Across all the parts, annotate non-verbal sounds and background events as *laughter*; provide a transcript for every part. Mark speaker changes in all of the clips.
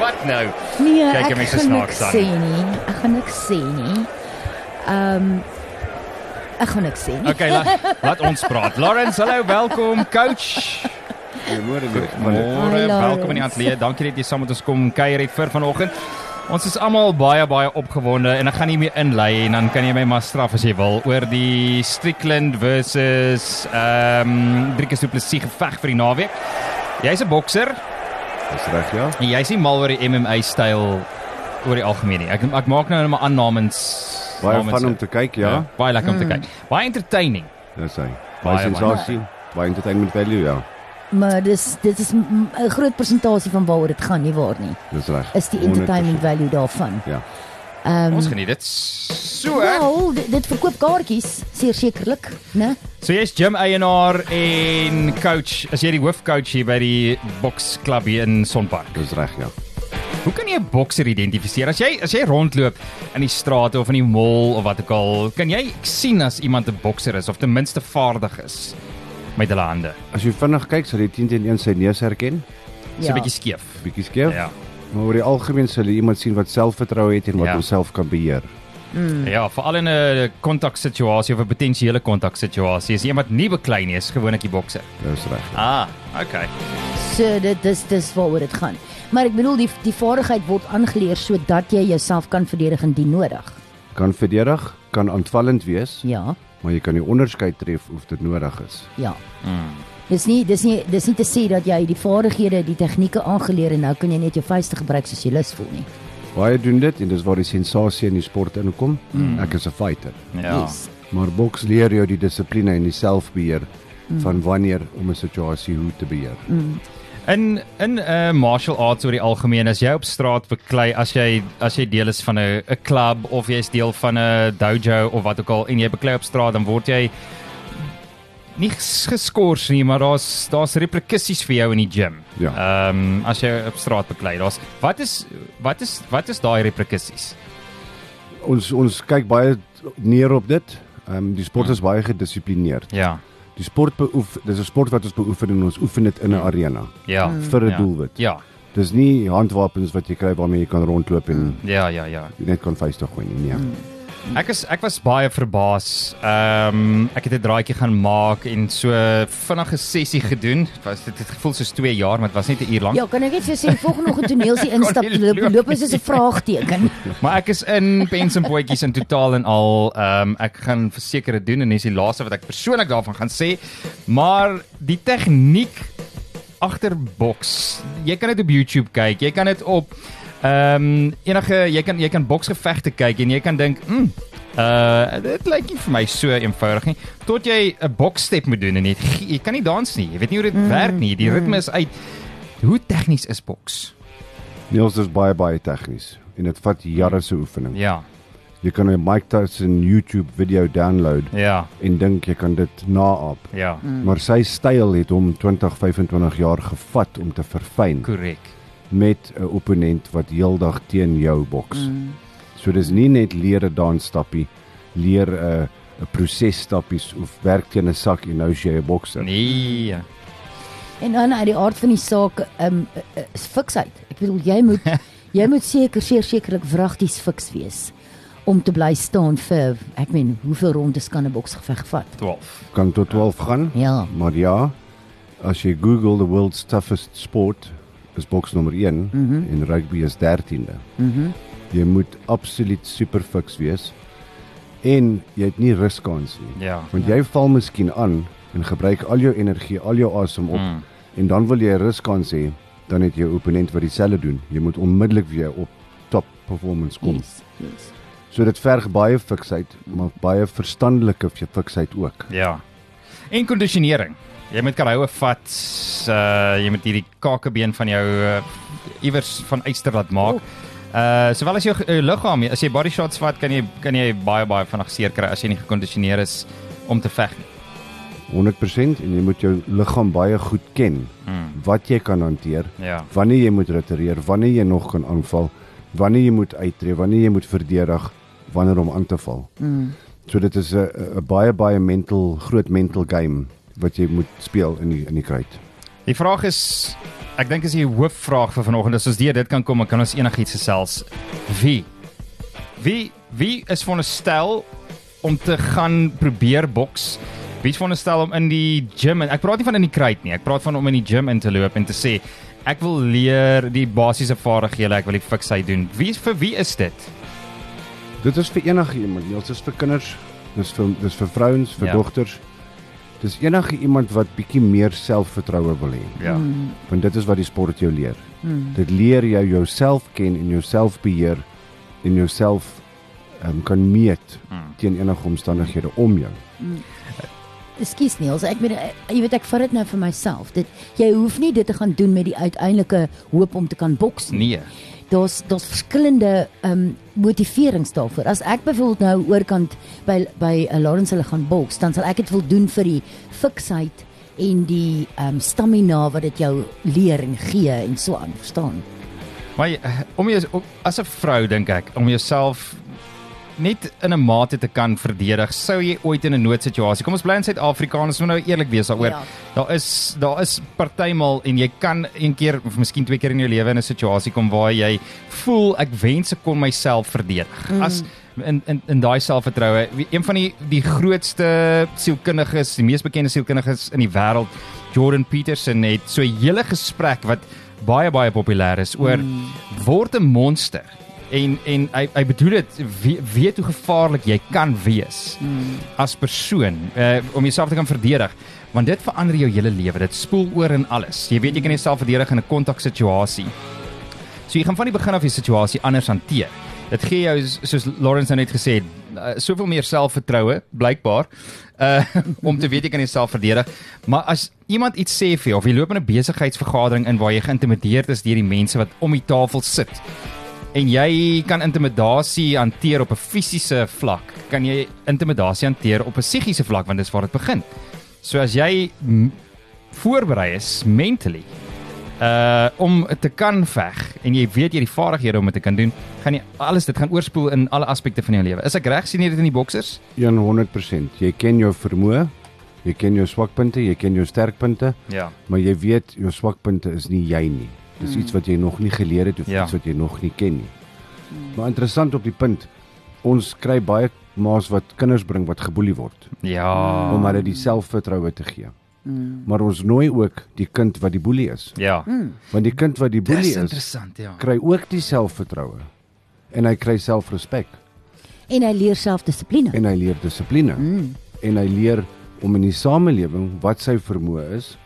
Speaker 1: Wat nou?
Speaker 2: Nee,
Speaker 1: Kyk,
Speaker 2: ek
Speaker 1: jy mense
Speaker 2: gaan
Speaker 1: snaaks
Speaker 2: niks
Speaker 1: aan.
Speaker 2: sê nie. Ek gaan niks sê nie. Ehm ek gaan niks sê nie.
Speaker 1: Okay, laat, laat ons praat. Lawrence, hallo, welkom coach.
Speaker 3: Goeiemôre.
Speaker 1: Môre,
Speaker 2: Hi, Lawrence.
Speaker 1: welkom in die ateljee. Dankie dat jy saam met ons kom kuier het vir vanoggend. Ons is almal baie baie opgewonde en ek gaan nie meer inlei en dan kan jy my maar straf as jy wil oor die Strickland versus ehm um, Driekus Du Plessis geveg vir die naweek. Jy's 'n bokser
Speaker 3: Dis reg, ja.
Speaker 1: en jy's nie mal oor die MMA styl oor die algemeen nie. Ek ek maak nou net maar aannames.
Speaker 3: Baie
Speaker 1: namens-
Speaker 3: van om te kyk, ja.
Speaker 1: Baie lekker om te kyk. Baie entertaining.
Speaker 3: Dis hy.
Speaker 1: Baie,
Speaker 3: Baie sensasie, baie entertainment value, ja.
Speaker 2: Maar dis dit is m- 'n groot persentasie van waaroor dit gaan nie waar nie.
Speaker 3: Dis reg.
Speaker 2: Is die entertainment value daarvan.
Speaker 3: 100%. Ja.
Speaker 2: Ehm
Speaker 1: Ons geniet dit. So.
Speaker 2: Wel, dit, dit verkoop kaartjies, seker sekerlik, né?
Speaker 1: So jy's gym eienaar en coach, as jy die hoofcoach hier by die boksklub hier in Sonpark.
Speaker 3: Dis reg, ja.
Speaker 1: Hoe kan jy 'n bokser identifiseer? As jy as jy rondloop in die strate of in die mall of wat ook al, kan jy sien as iemand 'n bokser is of ten minste vaardig is met hulle hande.
Speaker 3: As jy vinnig kyk, sal jy 10 teen 1 sy neus herken,
Speaker 1: So 'n
Speaker 2: Ja.
Speaker 1: bietjie skeef.
Speaker 3: bietjie skeef.
Speaker 1: Ja.
Speaker 3: Maar oor die algemeen sal jy iemand sien wat selfvertroue het en wat
Speaker 1: Ja.
Speaker 3: homself kan beheer.
Speaker 1: Ja, veral in 'n kontaksituasie of 'n potensiële kontaksituasie. As iemand nie beklei nie, is gewoonlik die bokser.
Speaker 3: Dis reg. ja.
Speaker 1: Ah, okay.
Speaker 2: So dit dis dis waaroor dit gaan. Maar ek bedoel die die vaardigheid word aangeleer sodat jy jouself kan verdedig indien nodig.
Speaker 3: Kan verdedig, kan aanvallend wees,
Speaker 2: Ja,
Speaker 3: maar jy kan die onderskeid tref of dit nodig is.
Speaker 2: ja. Mm. Dis nie dis nie dis nie te sê dat jy die vaardighede, die tegnieke aangeleer en nou kan jy net jou vuiste gebruik soos jy lus voel nie.
Speaker 3: Baie doen dit en dis waar die sensasie in die sport inkom. Mm. Ek is 'n fighter.
Speaker 1: Ja.
Speaker 2: Yes.
Speaker 3: Maar boks leer jou die dissipline en die selfbeheer mm. van wanneer om 'n situasie hoe te beheer. Mm.
Speaker 1: In in uh martial arts oor die algemeen as jy op straat beklei as jy as jy deel is van 'n 'n klub of jy's deel van 'n dojo of wat ook al en jy beklei op straat dan word jy nie ges- geskort nie maar daar's daar's reperkusies vir jou in die gym.
Speaker 3: Ja.
Speaker 1: Ehm um, as jy op straat beklei, daar's wat is wat is wat is daai reperkusies?
Speaker 3: Ons ons kyk baie neer op dit. Ehm um, die sport
Speaker 1: Mm.
Speaker 3: is baie gedissiplineerd.
Speaker 1: Ja.
Speaker 3: Die sport beoef dis 'n sport wat ons beoefen en ons oefen dit in 'n arena
Speaker 1: Ja.
Speaker 3: vir 'n
Speaker 1: ja.
Speaker 3: doelwit.
Speaker 1: Ja.
Speaker 3: Dis nie handwapens wat jy kry waarmee jy kan rondloop en
Speaker 1: Ja, ja, ja.
Speaker 3: net kan vuiste gooi nie. Nee. Mm.
Speaker 1: Ek is ek was baie verbaas. Ehm um, ek het 'n draadjie gaan maak en so vinnige sessie gedoen. Dit Was dit het gevoel soos 2 jaar, maar dit was net 'n uur lank.
Speaker 2: Ja, kan ek net vir jou sê volgende oggend toneel se instap
Speaker 1: Kon nie
Speaker 2: loop
Speaker 1: loop
Speaker 2: loop is soos 'n vraagteken.
Speaker 1: Maar ek is in pens en potjies in totaal en al. Ehm um, ek gaan verseker dit doen en dis die laaste wat ek persoonlik daarvan gaan sê. Maar die tegniek agter boks. Jy kan dit op YouTube kyk. Jy kan dit op ehm enige jy kan jy kan boksgevegte kyk en jy kan dink, "Mm, uh dit lyk nie vir my so eenvoudig nie." Tot jy 'n boksstep moet doen en jy, jy kan nie dans nie. Jy weet nie hoe dit mm, werk nie. Die ritme is uit. Hoe tegnies is boks?
Speaker 3: Niels Nee, is baie baie tegnies en dit vat jare se oefening.
Speaker 1: Ja.
Speaker 3: Jy kan 'n Mike Tyson YouTube video download
Speaker 1: Ja.
Speaker 3: en dink jy kan dit naaap.
Speaker 1: Ja.
Speaker 3: Maar sy styl het hom 20, 25 jaar gevat om te verfyn
Speaker 1: Korrek.
Speaker 3: met 'n opponent wat heeldag teen jou boks. Mm. So dis nie net leer 'n dansstappie, leer 'n 'n proses stappies of werk teen 'n sak en nou is jy 'n bokser.
Speaker 1: Nee.
Speaker 2: En dan uit die aard van die saak, ehm um, is fiksheid. Ek bedoel jy moet jy moet seker seker sekerlik wragties fiks wees om te bly staan vir ek meen hoeveel rondes kan 'n boksgeveg vat?
Speaker 1: 12.
Speaker 3: Kan tot 12 gaan.
Speaker 2: Ja.
Speaker 3: Maar ja, as jy Google the world's toughest sport, is boks nommer 1 mm -hmm. en rugby is 13de. Mhm. Mm jy moet absoluut super fiks wees en jy het nie riskans nie.
Speaker 1: Ja.
Speaker 3: Want jy val miskien aan en gebruik al jou energie, al jou asem op
Speaker 1: Hmm.
Speaker 3: mm. en dan wil jy 'n riskans hê, dan het jou opponent wat dieselfde doen. Jy moet onmiddellik weer op top performance kom. Yes.
Speaker 2: yes.
Speaker 3: So dit verg baie fiksheid, maar baie verstandelike fiksheid ook.
Speaker 1: Ja. En kondisionering. Jy moet karhoue vat. Uh jy moet hierdie kakebeen van jou uh, iewers van uitster laat maak. Uh sowel as jou ge- jou liggaam, as jy body shots vat, kan jy kan jy baie baie vinnig seer kry as jy nie gekondisioneer is om te veg nie.
Speaker 3: 100% en jy moet jou liggaam baie goed ken wat jy kan hanteer,
Speaker 1: Ja.
Speaker 3: wanneer jy moet retireer, wanneer jy nog kan aanval, wanneer jy moet uittreë, wanneer jy moet verdedig, wanneer om aan te val. Mm. So dit is 'n 'n baie baie mental groot mental game wat jy moet speel in die in die kruit.
Speaker 1: Die vraag is ek dink is die hoofvraag vir vanoggend. As ons deur dit kan kom, dan kan ons enigiets gesels. Wie? Wie wie is veronderstel om te gaan probeer boks? Wie is veronderstel om in die gym en ek praat nie van in die kruit nie. Ek praat van om in die gym in te loop en te sê ek wil leer die basiese vaardighede, ek wil die fiksheid doen. Wie is vir wie is dit?
Speaker 3: Dit is vir enige iemand, Niels, dis vir kinders, dis vir dis vir vrouens, vir
Speaker 1: Ja.
Speaker 3: ja. dogters. Dis enige iemand wat bietjie meer selfvertroue wil hê.
Speaker 1: Ja. Mm.
Speaker 3: Want dit is wat die sport jou leer. Mm. Dit leer jou jouself ken en jouself beheer en jouself um, kan meet mm. teen enige omstandighede om jou.
Speaker 2: Ekskuus Niels, ek meen eh, jy weet ek vat dit nou vir myself. Dit jy hoef nie dit te gaan doen met die uiteindelike hoop om te kan boks nie.
Speaker 1: Nee.
Speaker 2: daar's daar's verskillende ehm um, motiverings daarvoor. As ek byvoorbeeld nou oorkant by by uh, Lawrence hulle gaan boks, dan sal ek dit wil doen vir die fiksheid en die ehm um, stamina wat dit jou leer en gee en so aan, verstaan?
Speaker 1: Maar jy- om jy om- as 'n vrou dink ek om jouself net in 'n mate te kan verdedig, sou jy ooit in 'n noodsituasie. Kom ons bly in Suid-Afrika en ons moet nou eerlik wees daaroor.
Speaker 2: Ja.
Speaker 1: Daar is daar is partymal en jy kan een keer of miskien twee keer in jou lewe in 'n situasie kom waar jy voel ek wens ek kon myself verdedig. Mm. As in in in daai selfvertroue, wie- een van die die grootste sielkundiges, die mees bekende sielkundiges in die wêreld, Jordan Peterson het so 'n hele gesprek wat baie baie populêr is oor word 'n monster en en hy hy bedoel dit we- weet hoe gevaarlik jy kan wees as persoon uh, om jouself te kan verdedig want dit verander jou hele lewe dit spoel oor in alles jy weet jy kan jouself verdedig in 'n kontaksituasie so jy gaan van die begin af die situasie anders hanteer dit gee jou s- soos Lawrence nou net gesê het uh, soveel meer selfvertroue blykbaar uh, *laughs* om te weet jy kan jouself verdedig maar as iemand iets sê vir jou of jy loop in 'n besigheidsvergadering in waar jy geïntimideerd is deur die mense wat om die tafel sit en jy kan intimidasie hanteer op 'n fisiese vlak, kan jy intimidasie hanteer op 'n psigiese vlak want dis waar dit begin. So as jy m- voorberei is mentally uh om te kan veg en jy weet jy het die vaardighede om dit te kan doen, gaan jy alles dit gaan oorspoel in alle aspekte van jou lewe. Is ek reg sien jy dit in die boksers?
Speaker 3: 100%. Jy ken jou vermoë, jy ken jou swakpunte, jy ken jou sterkpunte,
Speaker 1: Ja.
Speaker 3: maar jy weet jou swakpunte is nie jy nie. Dis iets wat jy nog nie geleer het of
Speaker 1: Hmm. Ja. Hmm.
Speaker 3: ja. iets wat jy nog nie ken nie. Maar interessant op die punt, ons kry baie ma's wat kinders bring wat geboelie word
Speaker 1: Ja.
Speaker 3: om hulle die selfvertroue te gee.
Speaker 1: Hmm.
Speaker 3: Maar ons nooi ook die kind wat die boelie is,
Speaker 1: Ja.
Speaker 3: want die kind wat die boelie
Speaker 1: Dis
Speaker 3: is,
Speaker 1: interessant, ja.
Speaker 3: kry ook die selfvertroue en hy kry selfrespek
Speaker 2: En hy leer selfdissipline.
Speaker 3: en hy leer dissipline mm. en hy leer om in die samelewing wat sy vermoë is,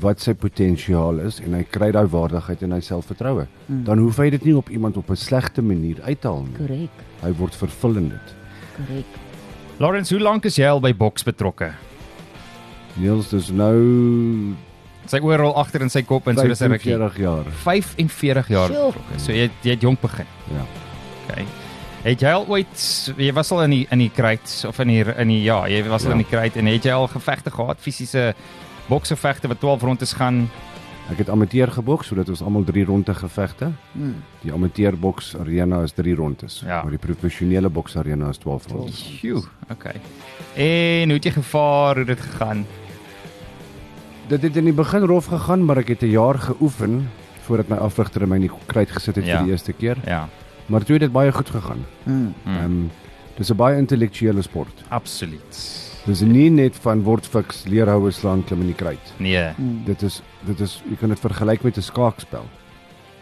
Speaker 3: wat sy potensiaal is en hy kry daai waardigheid en hy selfvertroue. Mm. Dan hoef hy dit nie op iemand op 'n slegte manier uit te haal nie.
Speaker 2: Korrek,
Speaker 3: Hy word vervul in dit.
Speaker 2: korrek.
Speaker 1: Lawrence, hoe lank is jy al by boks betrokke?
Speaker 3: Niels dis nou
Speaker 1: Sy oorrol agter in sy kop en so dis 'n rukkie.
Speaker 3: 45 jaar.
Speaker 1: 45 jaar
Speaker 2: Sjoe.
Speaker 1: betrokke. So jy het- jy het jonk begin.
Speaker 3: Ja.
Speaker 1: Okay. Het jy al ooit jy was al in die in die kruit of in die in die ja, jy was al
Speaker 3: Ja.
Speaker 1: in die kruit en het jy al gevegte gehad, fisiese boksgevegte wat 12 rondes gaan?
Speaker 3: Ek het amateur geboks sodat ons almal 3 ronde gevegte.
Speaker 2: Mm.
Speaker 3: Die amateur boks arena is 3 rondes,
Speaker 1: Ja.
Speaker 3: maar die professionele boks arena is 12 rondes.
Speaker 1: Sjoe, okay. En hoe het jy gevaar, hoe het dit gegaan?
Speaker 3: Dit het in die begin rof gegaan, maar ek het 'n jaar geoefen voordat my afrigter in my in die kruit gesit het ja.
Speaker 1: Ja.
Speaker 3: vir die eerste keer.
Speaker 1: Ja,
Speaker 3: Maar toe het dit baie goed gegaan.
Speaker 2: Mm.
Speaker 1: Hmm.
Speaker 3: Ehm um, dis 'n baie intellektuele sport.
Speaker 1: absoluut.
Speaker 3: Dis nie net van word fiks, leerhoue slaan, klim in die kruit.
Speaker 1: Nee.
Speaker 3: Dit is dit is jy kan dit vergelyk met 'n skaakspel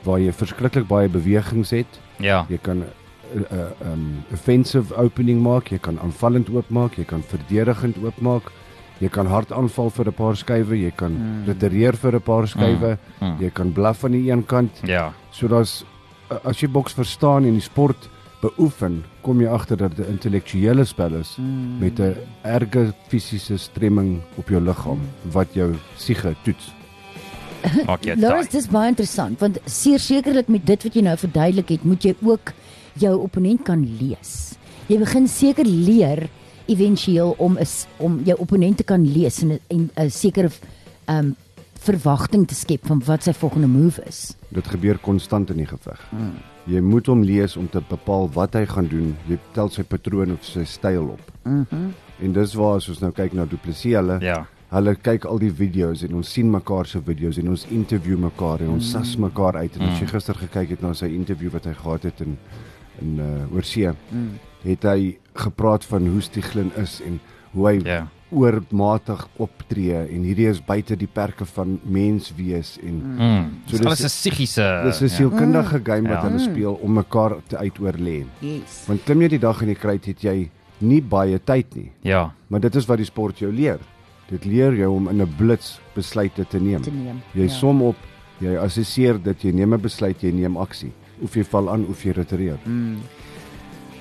Speaker 3: waar jy verskriklik baie bewegings het.
Speaker 1: Ja.
Speaker 3: Jy kan 'n uh, uh, um offensive opening maak, jy kan aanvallend oopmaak, jy kan verdedigend oopmaak. Jy kan hard aanval vir 'n paar skuwe, jy kan mm. retireer vir 'n paar skuwe, mm. jy kan blaf aan die een kant.
Speaker 1: Hmm. Ja.
Speaker 3: So daar's a- as jy boks verstaan en die sport beoefen, kom jy agter dat dit 'n intellektuele spel is mm. met 'n erge fisiese stremming op jou liggaam wat jou siege toets.
Speaker 1: Maak jy
Speaker 2: Lawrence,
Speaker 1: dit.
Speaker 2: dis baie interessant want seer sekerlik met dit wat jy nou verduidelik het, moet jy ook jou opponent kan lees. Jy begin seker leer éventueel om is om jou opponent te kan lees en en 'n sekere ehm um, verwagting te skep van wat sy volgende move is.
Speaker 3: Dit gebeur konstant in die geveg. Mm. Jy moet hom lees om te bepaal wat hy gaan doen. Jy tel sy patroon of sy styl op. Mhm. Mm en dis waar as ons nou kyk na Du Plessis hulle
Speaker 1: Ja.
Speaker 3: Hulle kyk al die video's en ons sien mekaar se video's en ons interview mekaar en ons sas
Speaker 1: Mm.
Speaker 3: mekaar uit en as jy gister gekyk het na sy interview wat hy gehad het in in uh, oorsee
Speaker 1: Mm.
Speaker 3: het hy gepraat van hoe Stiglin is en hoe hy
Speaker 1: Ja.
Speaker 3: oormatig optree en hierdie is buite die perke van mens wees en
Speaker 1: Mm.
Speaker 3: So
Speaker 1: So
Speaker 3: dis-
Speaker 1: alles is psigiese.
Speaker 3: dis 'n
Speaker 1: ja.
Speaker 3: sielkundige game wat
Speaker 1: Ja.
Speaker 3: hulle speel om mekaar te uitoorlê.
Speaker 2: Yes.
Speaker 3: Want klim jy die dag in die kruit het jy nie baie tyd nie,
Speaker 1: Ja.
Speaker 3: maar dit is wat die sport jou leer. Dit leer jou om in 'n blits besluite te neem.
Speaker 2: Te neem.
Speaker 3: Jy
Speaker 2: ja.
Speaker 3: som op, jy assesseer dit, jy neem 'n besluit, jy neem aksie. Of jy val aan of jy retireer.
Speaker 2: Mm.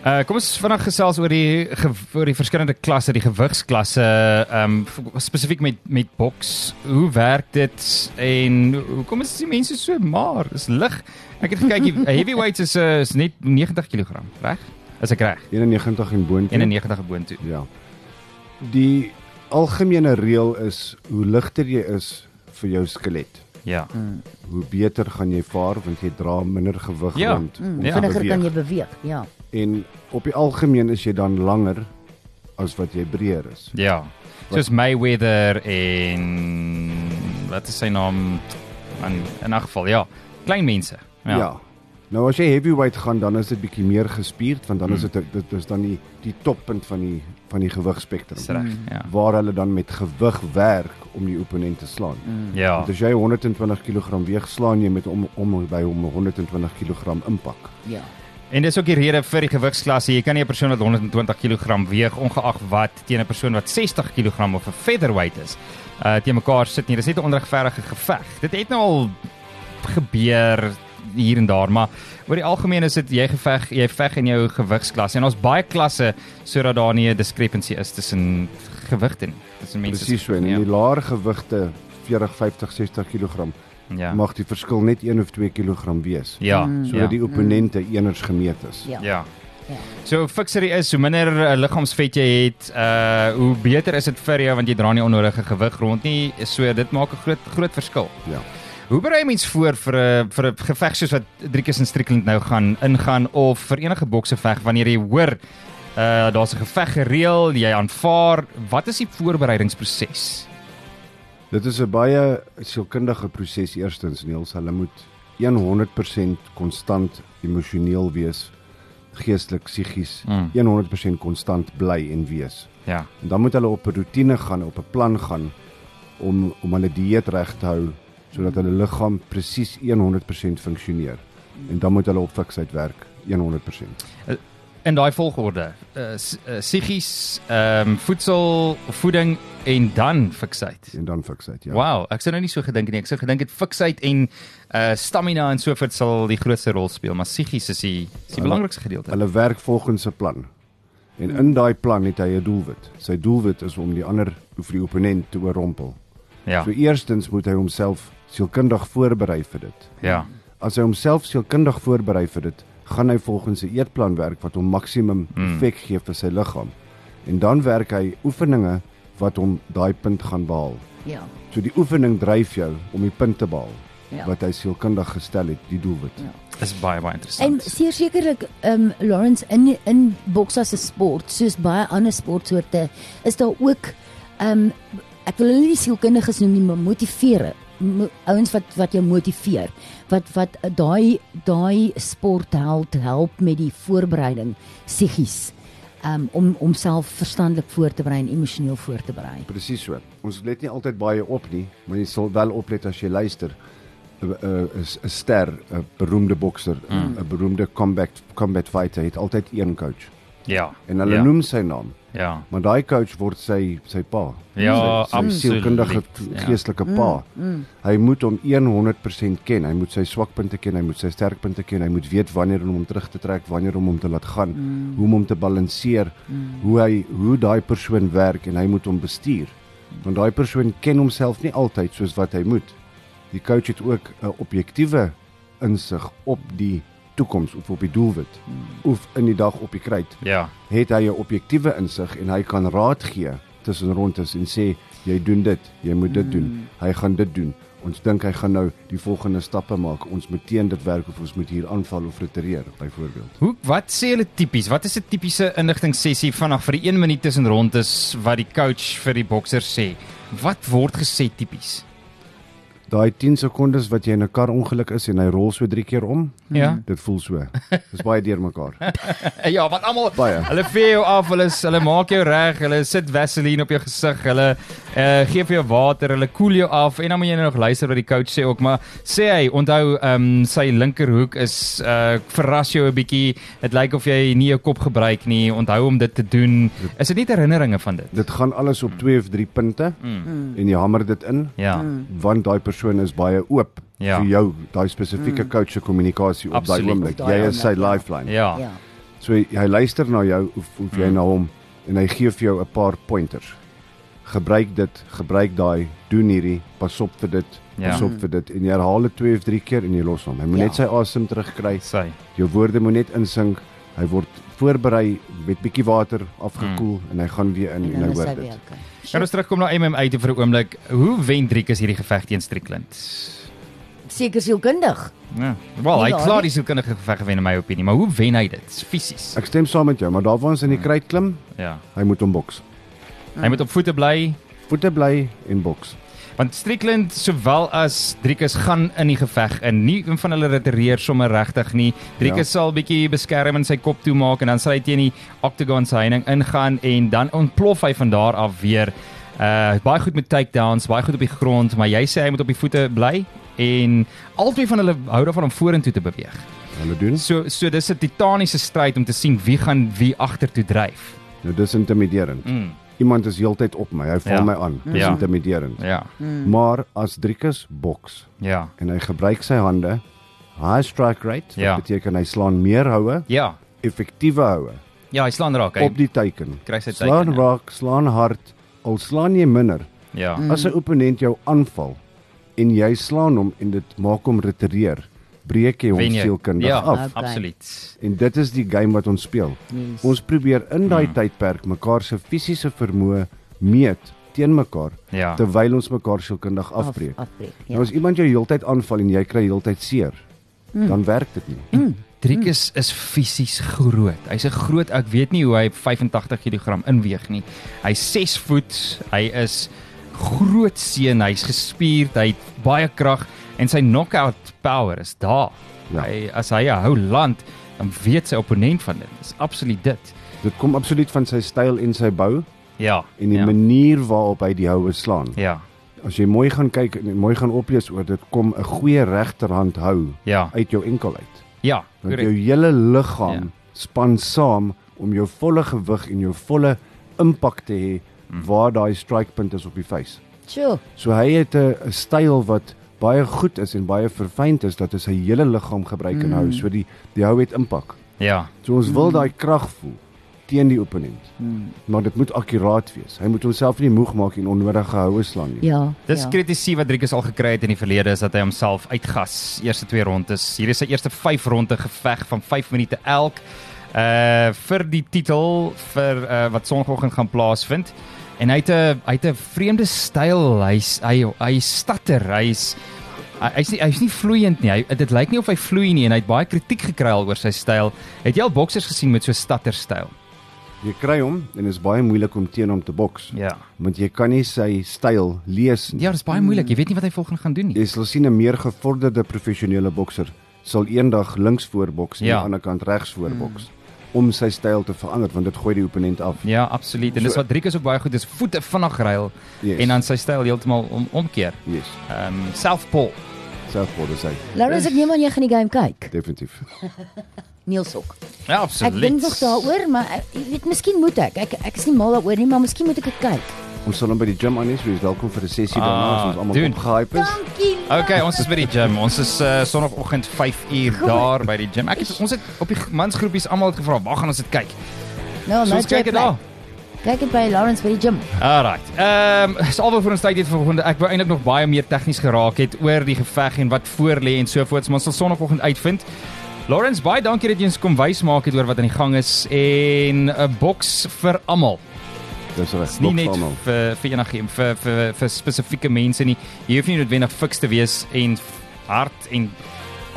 Speaker 1: Uh kom ons vanaand gesels oor die ge- oor die verskillende klasse, die gewigsklasse, ehm um, spesifiek met met boks. Hoe werk dit en hoekom is die mense so maar? Is lig. Ek het gekyk, die heavyweights is uh, is net 90 kg, reg? Is ek reg?
Speaker 3: 91 en boontoe.
Speaker 1: 91 boontoe.
Speaker 3: Ja. Die algemene reël is hoe ligter jy is vir jou skelet,
Speaker 1: Ja.
Speaker 3: hoe beter gaan jy vaar want jy dra minder gewig
Speaker 1: Ja.
Speaker 3: rond.
Speaker 2: Mm,
Speaker 3: om
Speaker 1: Ja.
Speaker 3: te
Speaker 2: Vinniger kan
Speaker 3: beweeg.
Speaker 2: jy beweeg. Ja.
Speaker 3: En op die algemeen is jy dan langer as wat jy breër is.
Speaker 1: Ja. Soos Mayweather en wat is sy naam? In in 'n geval, ja. Klein mense. Ja. ja.
Speaker 3: Nou as jy heavyweight gaan dan is dit bietjie meer gespierd want dan is
Speaker 1: Hmm.
Speaker 3: dit er, dit is dan die die toppunt van die van die gewigspektrum
Speaker 1: Dis reg. Ja.
Speaker 3: waar hulle dan met gewig werk om die opponent te slaan.
Speaker 1: Ja.
Speaker 3: Want as jy 120 kg weeg, slaan jy met om om by hom 120 kg impak.
Speaker 2: Ja.
Speaker 1: En dis ook die rede vir die gewigsklasse. Jy kan nie 'n persoon wat 120 kg weeg ongeag wat teen 'n persoon wat 60 kg of 'n featherweight is, uh teen mekaar sit nie. Dis net 'n onregverdige geveg. Dit het nou al gebeur hier en daar, maar oor die algemeen is dit jy geveg, jy veg in jou gewigsklasse en ons baie klasse sodat daar nie 'n diskrepansie is tussen gewigte nie. Tussen mense. ja.
Speaker 3: Presies so en in die laer gewigte 40, 50, 60 kg
Speaker 1: Ja.
Speaker 3: mag die verskil net 1 of 2 kg wees.
Speaker 1: Ja.
Speaker 3: sodat die opponente eners gemeet is.
Speaker 2: Ja.
Speaker 1: Ja.
Speaker 2: Ja.
Speaker 1: So fiksery is hoe minder uh, liggaamsvet jy het, uh hoe beter is dit vir jou want jy dra nie onnodige gewig rond nie. So dit maak 'n groot groot verskil.
Speaker 3: Ja.
Speaker 1: Hoe berei mens voor vir 'n vir 'n geveg soos wat Driekus en Strickland nou gaan ingaan of vir enige bokseveg wanneer jy hoor uh daar's 'n geveg gereël, jy aanvaar, wat is die voorbereidingsproses?
Speaker 3: Dit is 'n baie sielkundige proses eerstens Niels. Hulle moet 100% konstant emosioneel wees, geestelik, psigies,
Speaker 1: Mm.
Speaker 3: 100% konstant bly en wees.
Speaker 1: Ja.
Speaker 3: En dan moet hulle op 'n roetine gaan, op 'n plan gaan om om hulle dieet reg te hou sodat hulle liggaam presies 100% funksioneer. En dan moet hulle op fiksheid werk 100%.
Speaker 1: In daai volgorde. Uh s- uh, psigies, ehm um, voedsel, voeding en dan fiksheid.
Speaker 3: En dan fiksheid, ja.
Speaker 1: Wow, ek sou nou nie so gedink nie. Ek sou gedink het fiksheid en uh stamina en so voort sal die grootste rol speel, maar psigies is die is die belangrikste gedeelte.
Speaker 3: Hulle werk volgens 'n plan. En in daai plan het hy 'n doelwit. Sy doelwit is om die ander of die opponent te oorrompel.
Speaker 1: Ja.
Speaker 3: So eerstens moet hy homself sielkundig voorberei vir dit.
Speaker 1: Ja.
Speaker 3: As hy homself sielkundig voorberei vir dit, gaan hy volgens 'n eetplan werk wat hom maksimum effek gee vir sy liggaam. En dan werk hy oefeninge wat hom daai punt gaan behaal.
Speaker 2: Ja.
Speaker 3: So die oefening dryf jou om die punt te behaal
Speaker 2: Ja.
Speaker 3: wat hy sielkundig gestel het, die doelwit.
Speaker 2: Ja.
Speaker 1: Dis baie baie
Speaker 2: En
Speaker 1: interessant.
Speaker 2: seker sekerlik ehm um, Lawrence in in boks as 'n sport soos baie ander sportsoorte is daar ook ehm um, ek wil hulle nie sielkundiges noem nie, maar motivere mo- ouens wat wat jou motiveer wat wat eh, daai daai sport help help met die voorbereiding psigies um, om om self verstandelik voor te berei en emosioneel voor te berei.
Speaker 3: Presies so. Ons let nie altyd baie op nie, maar jy sal wel oplet as jy luister. 'n 'n- 'n- 'n ster, 'n beroemde bokser, 'n mm. beroemde combat combat fighter het altyd een coach
Speaker 1: Ja.
Speaker 3: en hulle
Speaker 1: ja.
Speaker 3: ja. noem sy naam,
Speaker 1: Ja.
Speaker 3: maar daai coach word sy sy pa.
Speaker 1: Ja,
Speaker 3: sy, sy
Speaker 1: absoluut,
Speaker 3: sielkundige
Speaker 1: ja.
Speaker 3: geestelike pa. Mm. Hy moet hom 100% ken. Hy moet sy swakpunte ken, hy moet sy sterkpunte ken, hy moet weet wanneer om hom terug te trek, wanneer om hom te laat gaan, mm. hoe om hom te balanseer, mm. hoe hy hoe daai persoon werk en hy moet hom bestuur. Want daai persoon ken homself nie altyd soos wat hy moet. Die coach het ook 'n objektiewe insig op die toekoms of op die doelwit of in die dag op die kruit
Speaker 1: Ja.
Speaker 3: het hy 'n objektiewe insig en hy kan raad gee tussen rondes en sê jy doen dit, jy moet dit
Speaker 2: Mm.
Speaker 3: doen, hy gaan dit doen. Ons dink hy gaan nou die volgende stappe maak. Ons moet teen dit werk of ons moet hier aanval of retireer byvoorbeeld.
Speaker 1: Hoe wat sê hulle tipies? Wat is 'n tipiese inligting sessie vanaf vir die 1 minuut tussen rondes wat die coach vir die bokser sê? Wat word gesê tipies?
Speaker 3: Daai 10 sekondes wat jy in 'n karongeluk is en hy rol so 3 keer om,
Speaker 1: Ja.
Speaker 3: dit voel so. Dis baie deurmekaar.
Speaker 2: *laughs*
Speaker 1: Ja, wat almal
Speaker 3: Baie.
Speaker 1: hulle vee jou af, hulle s- hulle maak jou reg, hulle sit Vaseline op jou gesig, hulle uh, gee vir jou water, hulle koel jou af en dan moet jy nou nog luister wat die coach sê ook, maar sê hy, onthou ehm um, sy linkerhoek is uh, verras jou 'n bietjie. Dit lyk of jy nie jou kop gebruik nie. Onthou om dit te doen. Is dit nie herinneringe van dit?
Speaker 3: Dit gaan alles op 2 of 3 punte
Speaker 1: Mm.
Speaker 3: en jy hamer dit in
Speaker 1: Ja.
Speaker 3: want daai persoon is baie oop
Speaker 1: Ja.
Speaker 3: vir jou, daai spesifieke coach se kommunikasie op daai
Speaker 1: Absoluut.
Speaker 3: oomblik.
Speaker 2: Mm. Op daai
Speaker 3: Jy is sy
Speaker 2: oomblik, ja.
Speaker 3: lifeline.
Speaker 1: Ja.
Speaker 2: Ja.
Speaker 3: So hy, hy luister na jou of, of jy na hom en hy gee vir jou 'n paar pointers. Gebruik dit, gebruik daai, doen hierdie, pas op vir dit,
Speaker 1: Ja.
Speaker 3: pas op vir dit en jy herhaal dit 2 of 3 keer en jy los hom. Hy moet
Speaker 2: Ja.
Speaker 3: net sy asem terugkry.
Speaker 1: Sy.
Speaker 3: Jou woorde moet net insink. Hy word voorberei met bietjie water afgekoel mm. en hy gaan weer in en, en
Speaker 2: dan
Speaker 3: hy
Speaker 2: is hy
Speaker 3: hoor
Speaker 2: weer
Speaker 3: dit.
Speaker 2: okay.
Speaker 1: Kan ons terugkom na MMA toe vir 'n oomblik. Hoe wen Driekus hierdie geveg teen Strickland?
Speaker 2: Seker sielkundig.
Speaker 1: Ja. Wel, hy
Speaker 2: Nie
Speaker 1: het
Speaker 2: waar
Speaker 1: klaar
Speaker 2: nie.
Speaker 1: die sielkundige geveg gewen in my opinie, maar hoe wen hy dit? Dis Fisies.
Speaker 3: Ek stem saam met jou, maar daar waar ons in die kruit klim,
Speaker 1: Ja.
Speaker 3: hy moet hom boks.
Speaker 1: Hy moet op voete bly
Speaker 3: Voete bly en boks.
Speaker 1: want Strickland sowel as Driekus gaan in die geveg in. Nie een van hulle retireer sommer regtig nie. Driekus ja. sal bietjie beskerm en sy kop toemaak en dan sal hy teen die octagon se heining ingaan en dan ontplof hy van daar af weer. Uh baie goed met takedowns, baie goed op die grond, maar jy sê hy moet op die voete bly en albei van hulle hou daarvan om vorentoe te beweeg.
Speaker 3: Hulle doen.
Speaker 1: So so dis 'n titaniese stryd om te sien wie gaan wie agtertoe dryf.
Speaker 3: Nou dis intimiderend. Mm. Iemand is heeltyd op my. Hy val
Speaker 1: Ja.
Speaker 3: ja. my aan. Dis
Speaker 1: Ja.
Speaker 3: ja. intimiderend.
Speaker 1: Ja.
Speaker 3: Maar as Driekus boks
Speaker 1: Ja.
Speaker 3: en hy gebruik sy hande, high strike rate,
Speaker 1: Ja.
Speaker 3: wat beteken hy slaan meer houe,
Speaker 1: Ja.
Speaker 3: effektiewe houe
Speaker 1: Ja, hy slaan raak.
Speaker 3: okay. op
Speaker 1: Hy,
Speaker 3: die teiken.
Speaker 1: Kry sy teiken,
Speaker 3: slaan
Speaker 1: ja.
Speaker 3: raak, slaan hard, al slaan jy minder.
Speaker 1: ja.
Speaker 3: Mm. As 'n opponent jou aanval en jy slaan hom en dit maak hom retireer, breek jy hom
Speaker 1: Wen jy.
Speaker 3: sielkundig
Speaker 1: ja,
Speaker 3: ja. af.
Speaker 2: Okay.
Speaker 1: Absoluut.
Speaker 3: En dit is die game wat ons speel.
Speaker 2: Yes.
Speaker 3: Ons probeer in daai mm. tydperk mekaar se fisiese vermoë meet teen mekaar
Speaker 1: Ja.
Speaker 3: terwyl ons mekaar sielkundig afbreek.
Speaker 2: Af, afbreek.
Speaker 3: Ja. Nou as iemand jou heeltyd aanval en jy kry heeltyd seer, mm. dan werk dit nie. Mm.
Speaker 1: Driekus is fisies groot. Hy's 'n groot, ek weet nie hoe hy 85 kg inweeg nie. Hy's 6 voet. Hy is groot seun. Hy's gespierd. Hy het baie krag en sy knockout power is daar. Ja.
Speaker 3: Ja.
Speaker 1: Hy as hy hou land, dan weet sy opponent van dit. Dis absoluut dit.
Speaker 3: Dit kom absoluut van sy styl en sy bou
Speaker 1: Ja.
Speaker 3: en die
Speaker 1: ja.
Speaker 3: ja. manier waarop hy die houe slaan.
Speaker 1: Ja.
Speaker 3: Ja. As jy mooi gaan kyk en mooi gaan oplees oor dit kom 'n goeie regterhand hou
Speaker 1: Ja.
Speaker 3: uit jou enkel uit.
Speaker 1: Ja.
Speaker 3: Want
Speaker 1: korrek.
Speaker 3: jou hele liggaam
Speaker 1: Ja.
Speaker 3: ja. span saam om jou volle gewig en jou volle impak te hê mm. waar daai strikepunt is op die vuis.
Speaker 2: Sjoe.
Speaker 3: So hy het 'n 'n styl wat baie goed is en baie verfynd is dat hy sy hele liggaam gebruik mm. en hou. So die die hou het impak.
Speaker 1: Ja.
Speaker 3: So ons wil daai krag voel teen die opponent. Mm. Maar dit moet akkuraat wees. Hy moet homself nie moeg maak en onnodige houe slaan nie.
Speaker 2: Ja.
Speaker 1: Dis
Speaker 2: ja.
Speaker 1: kritisie wat Driekus al gekry het in die verlede is dat hy homself uitgas eerste twee rondes. Hier is sy eerste 5 ronde geveg van 5 minute elk. Uh vir die titel vir uh, wat sonoggend gaan plaasvind. En hy het 'n hy het 'n vreemde styl. Hy s- hy hy statter. Hy's hy- hy's nie hy's nie vloeiend nie. Hy dit lyk nie of hy vloei nie en hy het baie kritiek gekry al oor sy styl. Het jy al boksers gesien met so statter styl?
Speaker 3: Jy kry hom en dit is baie moeilik om teen hom te boks.
Speaker 1: Ja.
Speaker 3: Want jy kan nie sy styl lees nie.
Speaker 1: Ja, dis baie moeilik. Jy weet nie wat hy volgende gaan doen nie.
Speaker 3: Jy sal sien 'n meer gevorderde professionele bokser sal eendag links voor boks en
Speaker 1: Ja. Mm.
Speaker 3: aan die ander kant regs voor boks om sy styl te verander want dit gooi die opponent af.
Speaker 1: Ja, absoluut. En dis
Speaker 3: So-
Speaker 1: wat Driekus ook baie goed is, voete vinnig ruil yes.
Speaker 3: Yes.
Speaker 1: Ja. en dan sy styl heeltemal om omkeer.
Speaker 3: Yes,
Speaker 1: Ehm um, selfpol.
Speaker 3: selfbod is hy
Speaker 2: Laurens, Nou, ek neem aan jy gaan die game kyk.
Speaker 3: definitief.
Speaker 2: Neelsok.
Speaker 1: Ja,
Speaker 2: Ek
Speaker 1: absoluut.
Speaker 2: dink nog daaroor, maar ek jy weet miskien moet ek. Ek ek is nie mal daaroor nie, maar miskien moet ek dit kyk.
Speaker 3: Ons sal hom by die gym aan is, wees welkom vir 'n sessie daarna as ons
Speaker 1: Ah,
Speaker 3: almal
Speaker 1: doen.
Speaker 3: opgehype is.
Speaker 2: Dankie.
Speaker 1: Okay, ons is by die gym. Ons is uh, sonoggend 5 uur daar by die gym. Ek het, ons het op die mansgroepies almal het gevra, "Waar gaan ons dit kyk?"
Speaker 2: Nou,
Speaker 1: So
Speaker 2: nou
Speaker 1: ons kyk dit daar.
Speaker 2: Kyk dit by Laurens by die gym.
Speaker 1: Alrite. Ehm um, salwe vir ons tyd het vanoggend. Ek wou eintlik nog baie meer tegnies geraak het oor die geveg en wat voor lê en so voort, maar ons sal sonoggend uitvind. Lawrence, baie dankie dat jy ons kom wys maak het oor wat aan die gang is en 'n boks vir almal.
Speaker 3: Dis reg.
Speaker 1: Dis nie net
Speaker 3: boks almal.
Speaker 1: vir vir enige vir vir vir spesifieke mense nie. Jy hoef nie noodwendig fiks te wees en f- hard en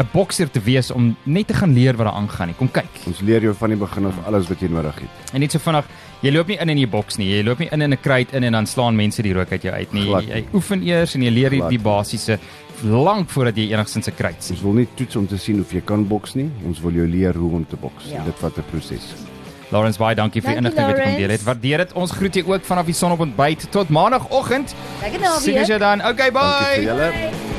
Speaker 1: 'n bokser te wees om net te gaan leer wat daar aangaan nie. Kom kyk.
Speaker 3: Ons leer jou van die begin af alles wat jy nodig het.
Speaker 1: En net so vinnig, Jy loop nie in in die boks nie. Jy loop nie in in 'n kruit in en dan slaan mense die rook uit jou uit nie.
Speaker 3: Glad
Speaker 1: Jy,
Speaker 3: nie.
Speaker 1: jy oefen eers en jy leer die,
Speaker 3: Glad
Speaker 1: die
Speaker 3: nie.
Speaker 1: basiese lank voordat jy enigstens 'n kruit sien.
Speaker 3: Ons wil nie toets om te sien of jy kan boks nie. Ons wil jou leer hoe om te boks.
Speaker 2: Ja.
Speaker 3: Ja. Dit vat 'n proses.
Speaker 1: Lawrence baie dankie vir die
Speaker 4: Dankie,
Speaker 1: inligting wat jy kom
Speaker 4: Lawrence.
Speaker 1: deel het. Waardeer dit. Ons groet jou ook vanaf die son op ontbyt tot maandagoggend.
Speaker 2: Lekker
Speaker 1: Sien
Speaker 2: naweek.
Speaker 1: jy dan. Okay,
Speaker 3: Dankie vir
Speaker 1: bye.
Speaker 3: julle.
Speaker 4: Bye.